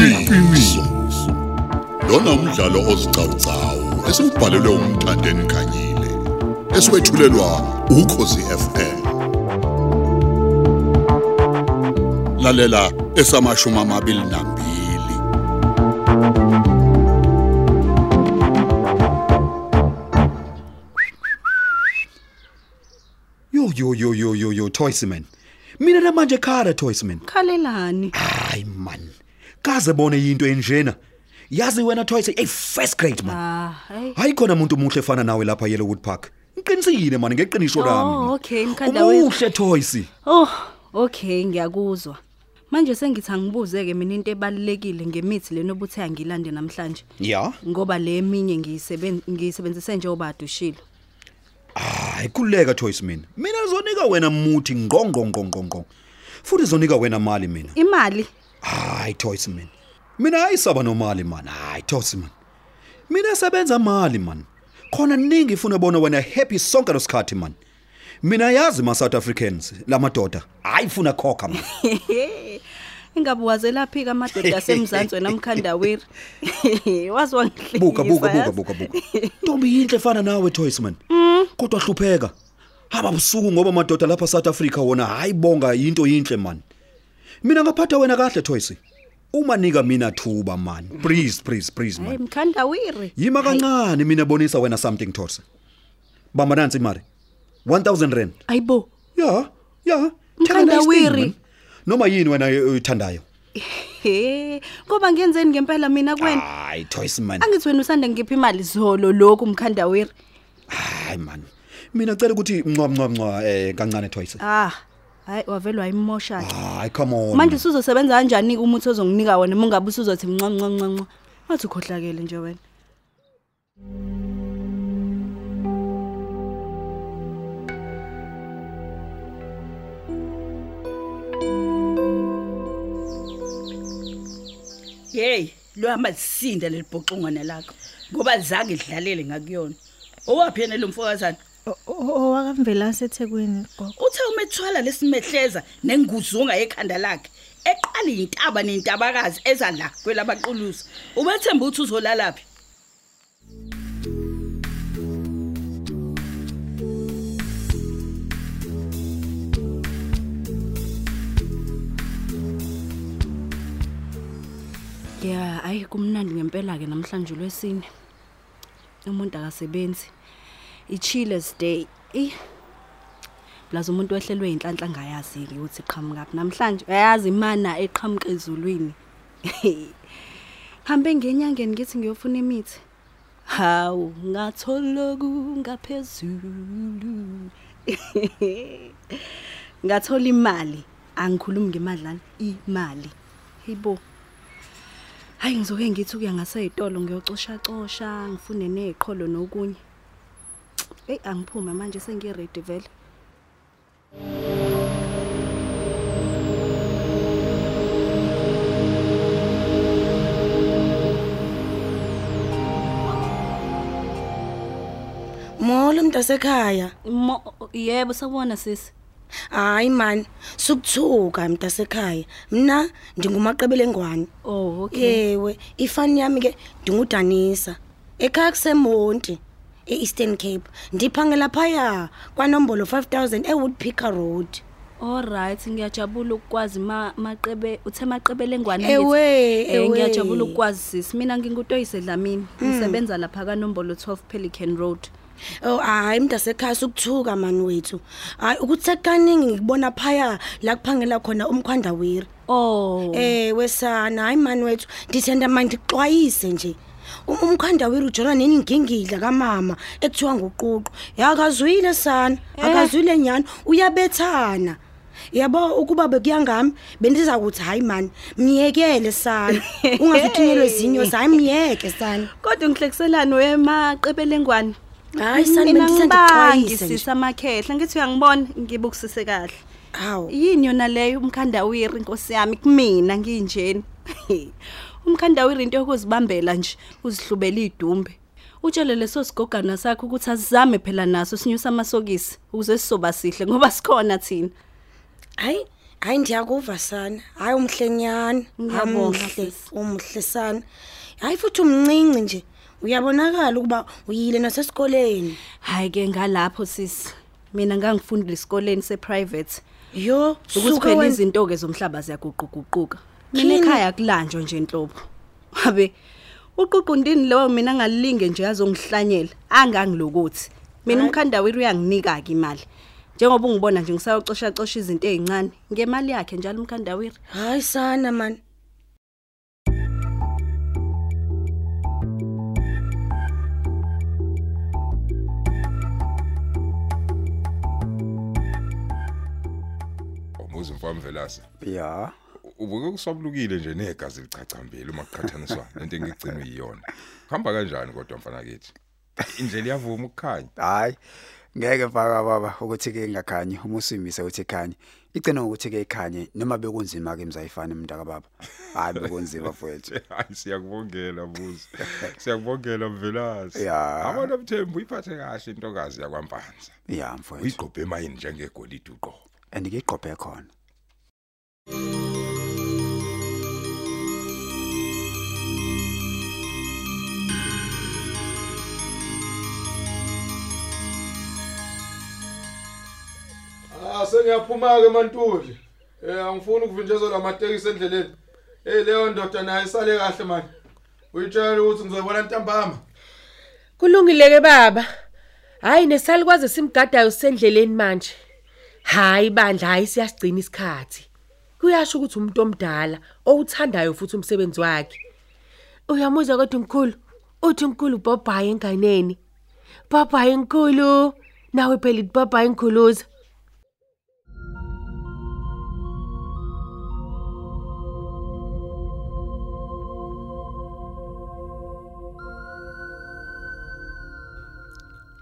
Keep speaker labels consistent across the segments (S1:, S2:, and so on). S1: iqiniso lona umdlalo ozicawucawu esiwubhalelwe umthandeni khanyile esiwethulelwa ukhosi FM lalela esamashumi amabili nambili
S2: yo yo yo yo yo yo toysman mina namanje khara toysman
S3: khalelani
S2: hayi man kaze bone into enjena yazi wena toys hey first grade man
S3: ah hey
S2: hayi khona umuntu omuhle efana nawe lapha Yellowwood Park ngiqinisile man ngeqiniso lami
S3: Oh, okay, ngikhandawe.
S2: uhle toys
S3: oh okay ngiyakuzwa manje sengithi angibuzeke mina into ebalekile ngemithi lenobuthe angilande namhlanje
S2: ya
S3: ngoba le minye ngiyisebenzi ngiyisebenzise nje obadushilo
S2: hayi kuleka toys mina mina ngizonika wena muthi ngqongqongqongqong futhi ngizonika wena mali mina
S3: imali
S2: hayi toys mina mina ayisaba nomali man hayi toys man mina sebenza mali man khona ningi ufuna bona wena happy sonke losikhathi man mina yazi ma South Africans lamadoda ayifuna khokha man
S3: ingabuwazela phika amadoda asemzansi wena mkhandaweri wazi wangihlekisa
S2: buka buka buka
S3: yazi.
S2: buka buka ntombi yinhle efana nawe toys man kodwa hlupheka haba busuku ngoba madoda lapha South Africa wona hayi bonga into yinhle man mina ngaphatha wena kahle toys uma nika mina thuba man please please please man
S3: hayi mkhandaweri
S2: yima kancane mina bonisa wena something tosa bamba nansi imali 1000 rand
S3: ayibo
S2: ya ya
S3: Mkhanda
S2: Thenga nice thing,
S3: wiri.
S2: man. noma yini wena oyithandayo
S3: he ngoba ngenzeni ngempela mina kwena
S2: hayi toys man
S3: angithi wena usanda ngiphi imali zolo lokhu mkhandaweri
S2: hayi man mina cela ukuthi mncwa mncwa mncwa eh kancane toys
S3: ah hayi wavelwa imosha ke
S2: hayi come on
S3: manje
S2: man.
S3: usuzosebenza kanjani ke umuthi ozonginika wona uma ungabe usuzothi mnca mnca mnca mnca wathi ukhohlakele nje wena
S4: Hey, lohamba lisinda lelibhoxungwana lakho ngoba lizange idlalele ngakuyona. Owapi yena lo mfowazana?
S5: owakamvelase ethekwini gogo
S4: Uthe umethwala lesimehleza nenguzunga ekhanda lakhe. Eqala intaba nentabakazi eza la kwelabaqulusa. Ubethemba uthi uzolala phi?
S3: ya hayi kumnandi ngempela ke namhlanje lwesine umuntu akasebenzi i-chiles day eyi blaze umuntu wehlelwe inhlanhla ngayazi-ke ukuthi iqhamukaphi namhlanje uyayazi imana eqhamuka ezulwini hambe ngenyangeni ngithi ngiyofuna imithi hawu ngatholoku ngaphezulu ngathola imali angikhulumi ngemadlana imali heyibo hayi ngizoke ngithi ukuya ngaseyitolo ngiyocoshacosha ngifune neyiqholo nokunye eyi angiphume manje sengiredi vele
S6: Molo mntasekhaya.
S3: Mo- yebo sakubona sisi
S6: Hayi man, sukuthuka mntasekhaya. Mina ndingumaqebele ngwane.
S3: oh okay
S6: Yewe, ifani yami ke ndingudanisa. Ekhaya kusemonti. e-Eastern Cape ndiphangela phaya kwanombolo 5000 eWoodpicker Road
S3: all right ngiyajabula ukukwazi ma- maqebe uthe maqebele ngwane
S6: Ewe,
S3: angithi? Eh,
S6: ewe.
S3: ngiyajabula ukukwazi sisi mina ngingutoyise dlamini ngisebenza lapha kanombolo 12 pelican road
S6: oh hayi mntasekhaya sukuthuka mani wethu hayi ukuthe kaningi ngikubona phaya la kuphangela khona umkhwanda weri
S3: oh
S6: ewe sana Eh, hayi mani wethu ndithenda mandixwayise nje U- umkhanda wethu ujona nini ngingidla kamama ekuthiwa nguququ yakazwile sana akazwile nyani uyabethana yabo ukuba bekuya ngami bendiza kuthi hayi mani myekele sana ungazithunyelwe zinyo zayi myeke sana
S3: kodwa ngihlekiselani wemaqebele ngwane
S6: hayi sana
S3: mina ngibangi
S6: bendisendixwayise nje
S3: sisi amakhehla ngithi uyangibona ngibukusise kahle
S6: hawu
S3: yini yona leyo umkhandawiri inkosi yami kumina nginjeni umkhandawiri into yokuzibambela nje uzihlubela idumbe utshele leso sigogana sakho ukuthi asizame phela naso sinyusa amasokisi ukuze sizoba sihle ngoba sikhona thina
S6: hayi hayi ndiyakuva sana hayi umhlenyana
S3: Ngiyabonga,
S6: amuhle
S3: sis.
S6: umuhle sana hayi futhi umncinci nje uyabonakala ukuba uyile nasesikoleni
S3: hayi ke ngalapho sisi mina ngangifundile esikoleni seprivate
S6: yo
S3: ukuthi
S6: suka
S3: phela
S6: wena-
S3: izinto ke zomhlaba ziyaguquguquka mina
S6: Khini.
S3: ekhaya kulanjwa nje inhlobo abe uququndini lowo mina ngalinge nje azongihlanyela angangilokuthi mina umkhandawiri uyanginika ke imali njengoba ungibona nje ngisayocosha cosha izinto ezincane ngemali yakhe njalo umkhandawiri
S6: hayi sana mani
S7: Umuzi mfami velase.
S2: ya
S7: Ubuke kusabulukile nje negazi licacambile uma kuqhathaniswa lento engigcina uyiyona. Khamba kanjani kodwa mfana kithi? Indlela iyavuma ukukhanya.
S8: hayi ngeke faka baba ukuthi ke ingakhanyi uma usimise uthi khanye igcina ngokuthi ke ikhanye noma bekunzima ke mzayifana umntaka baba hayi bekunzima mfowethu
S7: Hayi siyakubongela buzi. Siyakubongela mvelase.
S8: Ya.
S7: Abantu obuthembu iphathe kahle intokazi yakwampanza.
S8: ya mfowethu
S7: Uyigqobhe emayini njengegolide uqobo.
S8: andikiqophe khona
S9: Ah sengiyaphuma ke mantuli. Eh angifuni ukuvinjezwa lamatekisi endleleni. Eh leyo ndoda nayo isale kahle manje. Uyitshela ukuthi ngizoyibona ntambama.
S10: Kulungileke baba. Hayi nesalikwazi simgadayo sendleleni manje. Hayi bandla hayi siyasigcina isikhathi. Kuyasho ukuthi umuntu omdala owuthandayo futhi umsebenzi wakhe. Uyamuzwa kodwa umkhulu, uthi umkhulu ubhabhaye enganeni. Babhaye inkulu. Nawe phela ibhabhaye inkuluza.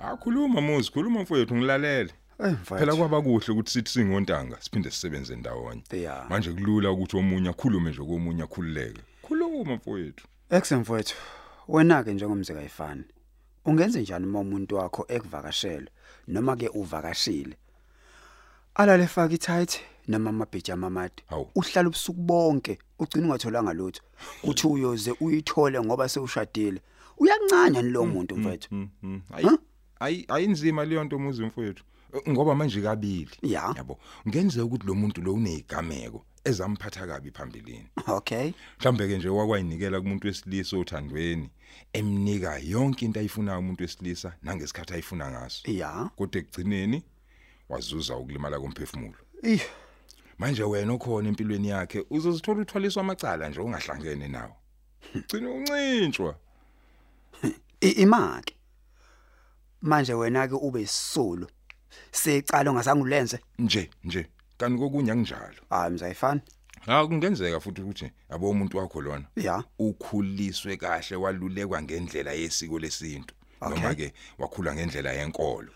S7: Akhuluma muzi, Ah, khuluma mfowethu ngilalele.
S8: Eh,
S7: Phela
S8: mfowethu
S7: kwaba kuhle ukuthi sithi singontanga siphinde sisebenze ndawonye.
S8: Ya.
S7: Manje kulula ukuthi omunye akhulume nje komunye akhululeke. Khuluma mfowethu.
S8: eksemfowethu wena ke njengomzeka ifani ungenze njani uma umuntu wakho ekuvakashela noma ke uvakashile alale faka ithight noma amabhija amamade
S7: Hawu.
S8: uhlala ubusuku bonke ugcina ungatholanga lutho uthi uyoze uyithole ngoba sewushadile uyancanya nilowo muntu mfowethu
S7: Mm, mm. Hayi. Hayi ayinzima leyo nto muzi mfowethu. Ngoba manje kabili.
S8: Ya.
S7: Yabo. Ngenzeka ukuthi lo muntu lo unezigameko ezamphatha kabi phambilini.
S8: okay
S7: Mhlambe ke nje wakwayinikela kumuntu wesilisa othandweni emnika yonke into ayifunayo umuntu wesilisa nangesikhathi ayifuna ngaso.
S8: ya
S7: Kodwa ekugcineni wazuza ukulimala komphefumulo.
S8: Ih,
S7: manje wena okhona empilweni yakhe uzozithola uthwaliswa amacala nje ungahlangene nawo ugcina uncintshwa
S8: i- imake manje wena ke ube isisulu secala ongasangulenze
S7: nje nje kanti kokunye anginjalo
S8: hayi mzayifani
S7: ha kungenzeka futhi ukuthi abo umuntu wakho lona
S8: ya
S7: ukhuliswe kahle walulekwa ngendlela yesiko lesintu noma ke wakhula ngendlela yenkolo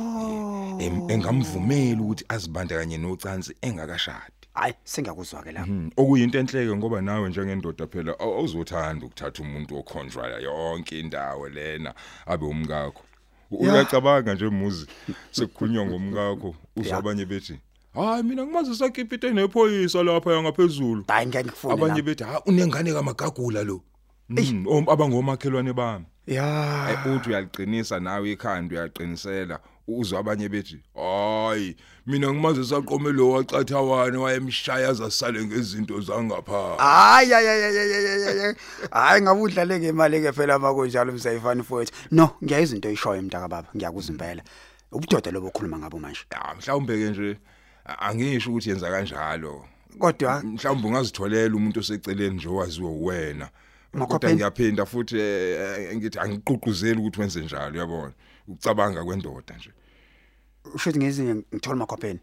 S7: oh engamvumeli ukuthi azibandakanye nocansi engakashadi
S8: hayi sengiyakuzwa ke lapho
S7: Hmm, okuyinto enhleke ngoba nawe njengendoda phela aw- awuzothanda ukuthatha umuntu okhonjwa yonke indawo lena abe umkakho U- uyacabanga nje muzi sekukhulunywa ngomkakho uzwa abanye bethi hayi mina ngimazi sakhipha into enephoyisa lapha yangaphezulu
S8: hayi ngeke ngikufune
S7: abanye
S8: nami.
S7: bethi ha unengane kamagagula lo Mm, om- abangomakhelwane bami
S8: ya
S7: Eh, uthi uyaliqinisa nawe ikhanda uyaqinisela uzwa abanye bethi hayi mina ngimaze saqome lo wacathawane wayemshaya zasale ngezinto zangapha
S8: hayi hayi hayi, hayi, hayi, hayi, hayi. hayi ngabe udlale ngemali ke phela uma kunjalo mzayifani mfowethu no ngiya izinto oyishoyo mntaka baba ngiyakuzwa impela ubudoda lobo okhuluma ngabo manje
S7: ya mhlawumbe ke nje a- angisho ukuthi yenza kanjalo
S8: kodwa
S7: mhlawumbe ungazitholela umuntu oseceleni nje owaziwe uwena kodwa
S8: Makhwapheni.
S7: ngiyaphinda futhi eh, eh, ngithi angiququzeli ukuthi wenze njalo uyabona ukucabanga kwendoda nje
S8: ushuthi ngezinye ngithola umakhopheni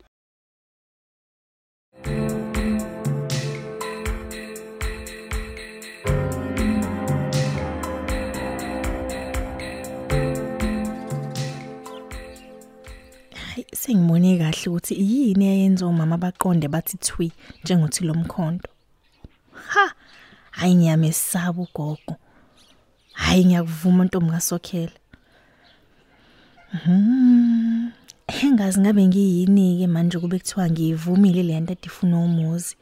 S5: Hayi sengibone kahle ukuthi yini eyenza umama baqonde bathi thwi njengothi lomkhonto. Ha! Hayi ngiyamesaba ugogo. Hayi ngiyakuvuma ntombi kaSokhela. Mhm. Angazi ngabe ngiyini ke manje kube kuthiwa ngivumile le nto edifuna umuzi.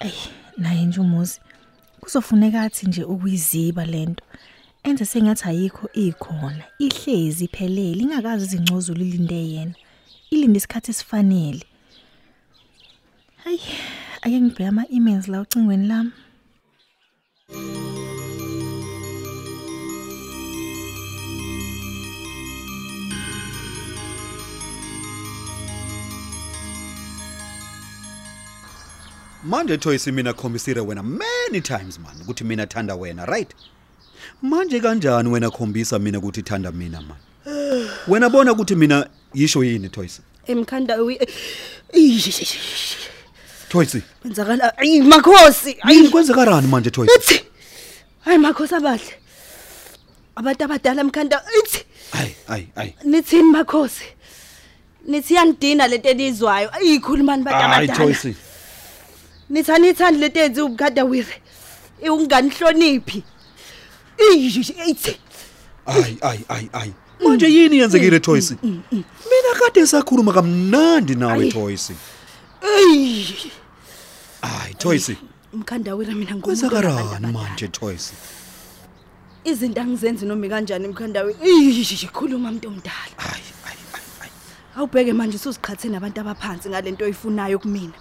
S5: Ey, naye nje umuzi. Kuzofuneka athi nje ukuyiziba lento. Enze sengathi ayikho ikhona. Ihlezi iphelele ingakazi izingcozulo ilinde yena. Ilinde isikhathi esifanele. Hayi, ake ngibheka ama-emails la ocingweni lami.
S2: manje Thoyisi mina khombisile wena many times man ukuthi mina thanda wena right manje kanjani wena khombisa mina ukuthi thanda mina man wena bona ukuthi mina yisho yini Thoyisi
S3: Emkhanda uyi Eish,
S2: Thoyisi
S3: kwenzakala ayi makhosi
S2: yini
S3: ayi
S2: kwenzekarani manje Thoyisi
S3: ithi hayi makhosi abahle abantu abadala emkhanda ithi
S2: ayi ayi ayi
S3: nithini makhosi nithi yanidina lento enizwayo ayikhulumani bantu
S2: ayi
S3: abadala
S2: Thoyisi
S3: nithani ithandi lento enziwa ubukhada wire iwunganihloniphi Eish, ithi
S2: ayi ayi ayi ayi manje yini yenzekile Thoyisi mina kade sakhuluma kamnandi nawe
S3: Ayi.
S2: Thoyisi
S3: eyi
S2: ayi Thoyisi
S3: umkhanda wire mina ngumuntu wabantu
S2: kwenzekarani
S3: abadala.
S2: manje Thoyisi
S3: izinto angizenzi noma kanjani umkhanda wire eish khuluma umuntu omdala
S2: ayi ayi ayi ayi
S3: awubheke manje usuziqhathe nabantu abaphansi ngalento oyifunayo kumina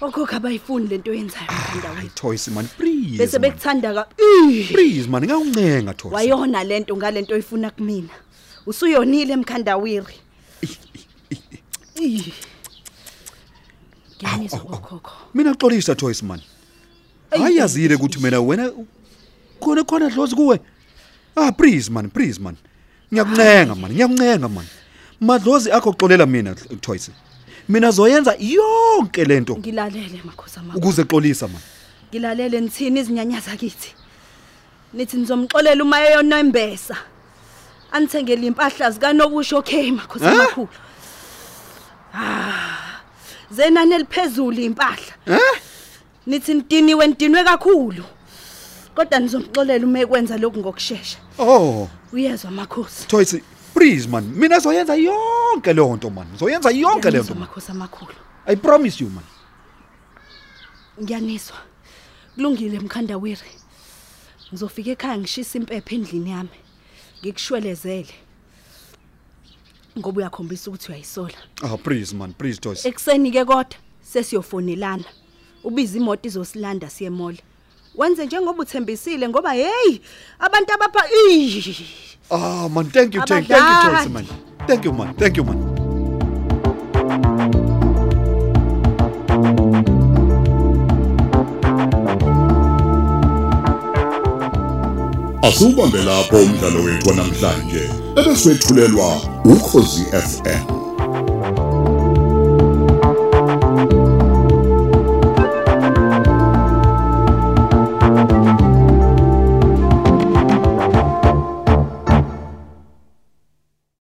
S3: okhokho abayifuni lento oyenzayo umkhanda
S2: ayi
S3: wethu
S2: Thoyisi man please
S3: bese
S2: man.
S3: bekuthanda ka Ih,
S2: please man ngawuncenga Thoyisi
S3: wayona lento ngalento oyifuna kumina usuyonile emkhanda wiri Ih. ngiyanizwa
S2: Awu, awu, awu.
S3: kokhokho
S2: mina xolisa Thoyisi man
S3: Ayi,
S2: ayazile ukuthi mina wena khona khona dlozi kuwe ah please man please man ngiyakuncenga man ngiyakuncenga man madlozi akho xolela mina Thoyisi mina zoyenza yonke lento
S3: ngilalele makhosi ama
S2: ukuze xolisa man
S3: ngilalele nithini izinyanyaza kithi nithi nizomxolela uma eyonombesa anithengele impahla zikanokusho okay makhosi
S2: Eh?
S3: amakhulu ah zenani eliphezulu impahla
S2: Eh?
S3: nithi nidiniwe nidinwe kakhulu kodwa nizomxolela uma ekwenza lokhu ngokusheshsha
S2: oh
S3: uyezwa makhosi
S2: Thoyisi please man mina zoyenza yonke le nto man zoyenza yonke le nto
S3: Ngiyanizwa,
S2: man
S3: makhosi amakhulu
S2: i promise you man
S3: ngiyaniswa kulungile mkhanda wiri ngizofika ekhaya ngishisa impepha endlini yami ngikushwelezele ngoba uyakhombisa ukuthi uyayisola
S2: ah please man please Thoyisi
S3: ekuseni ke kodwa sesiyofonelana ubiza imoto izosilanda siye mall wenze njengoba uthembisile ngoba hey abantu abapha Ih!
S2: ah man thank you thank, thank you Thoyisi man thank you man thank you man
S1: Asubambe lapho umdlalo wethu namhlanje ebeswetshulelwa ukhosi FM.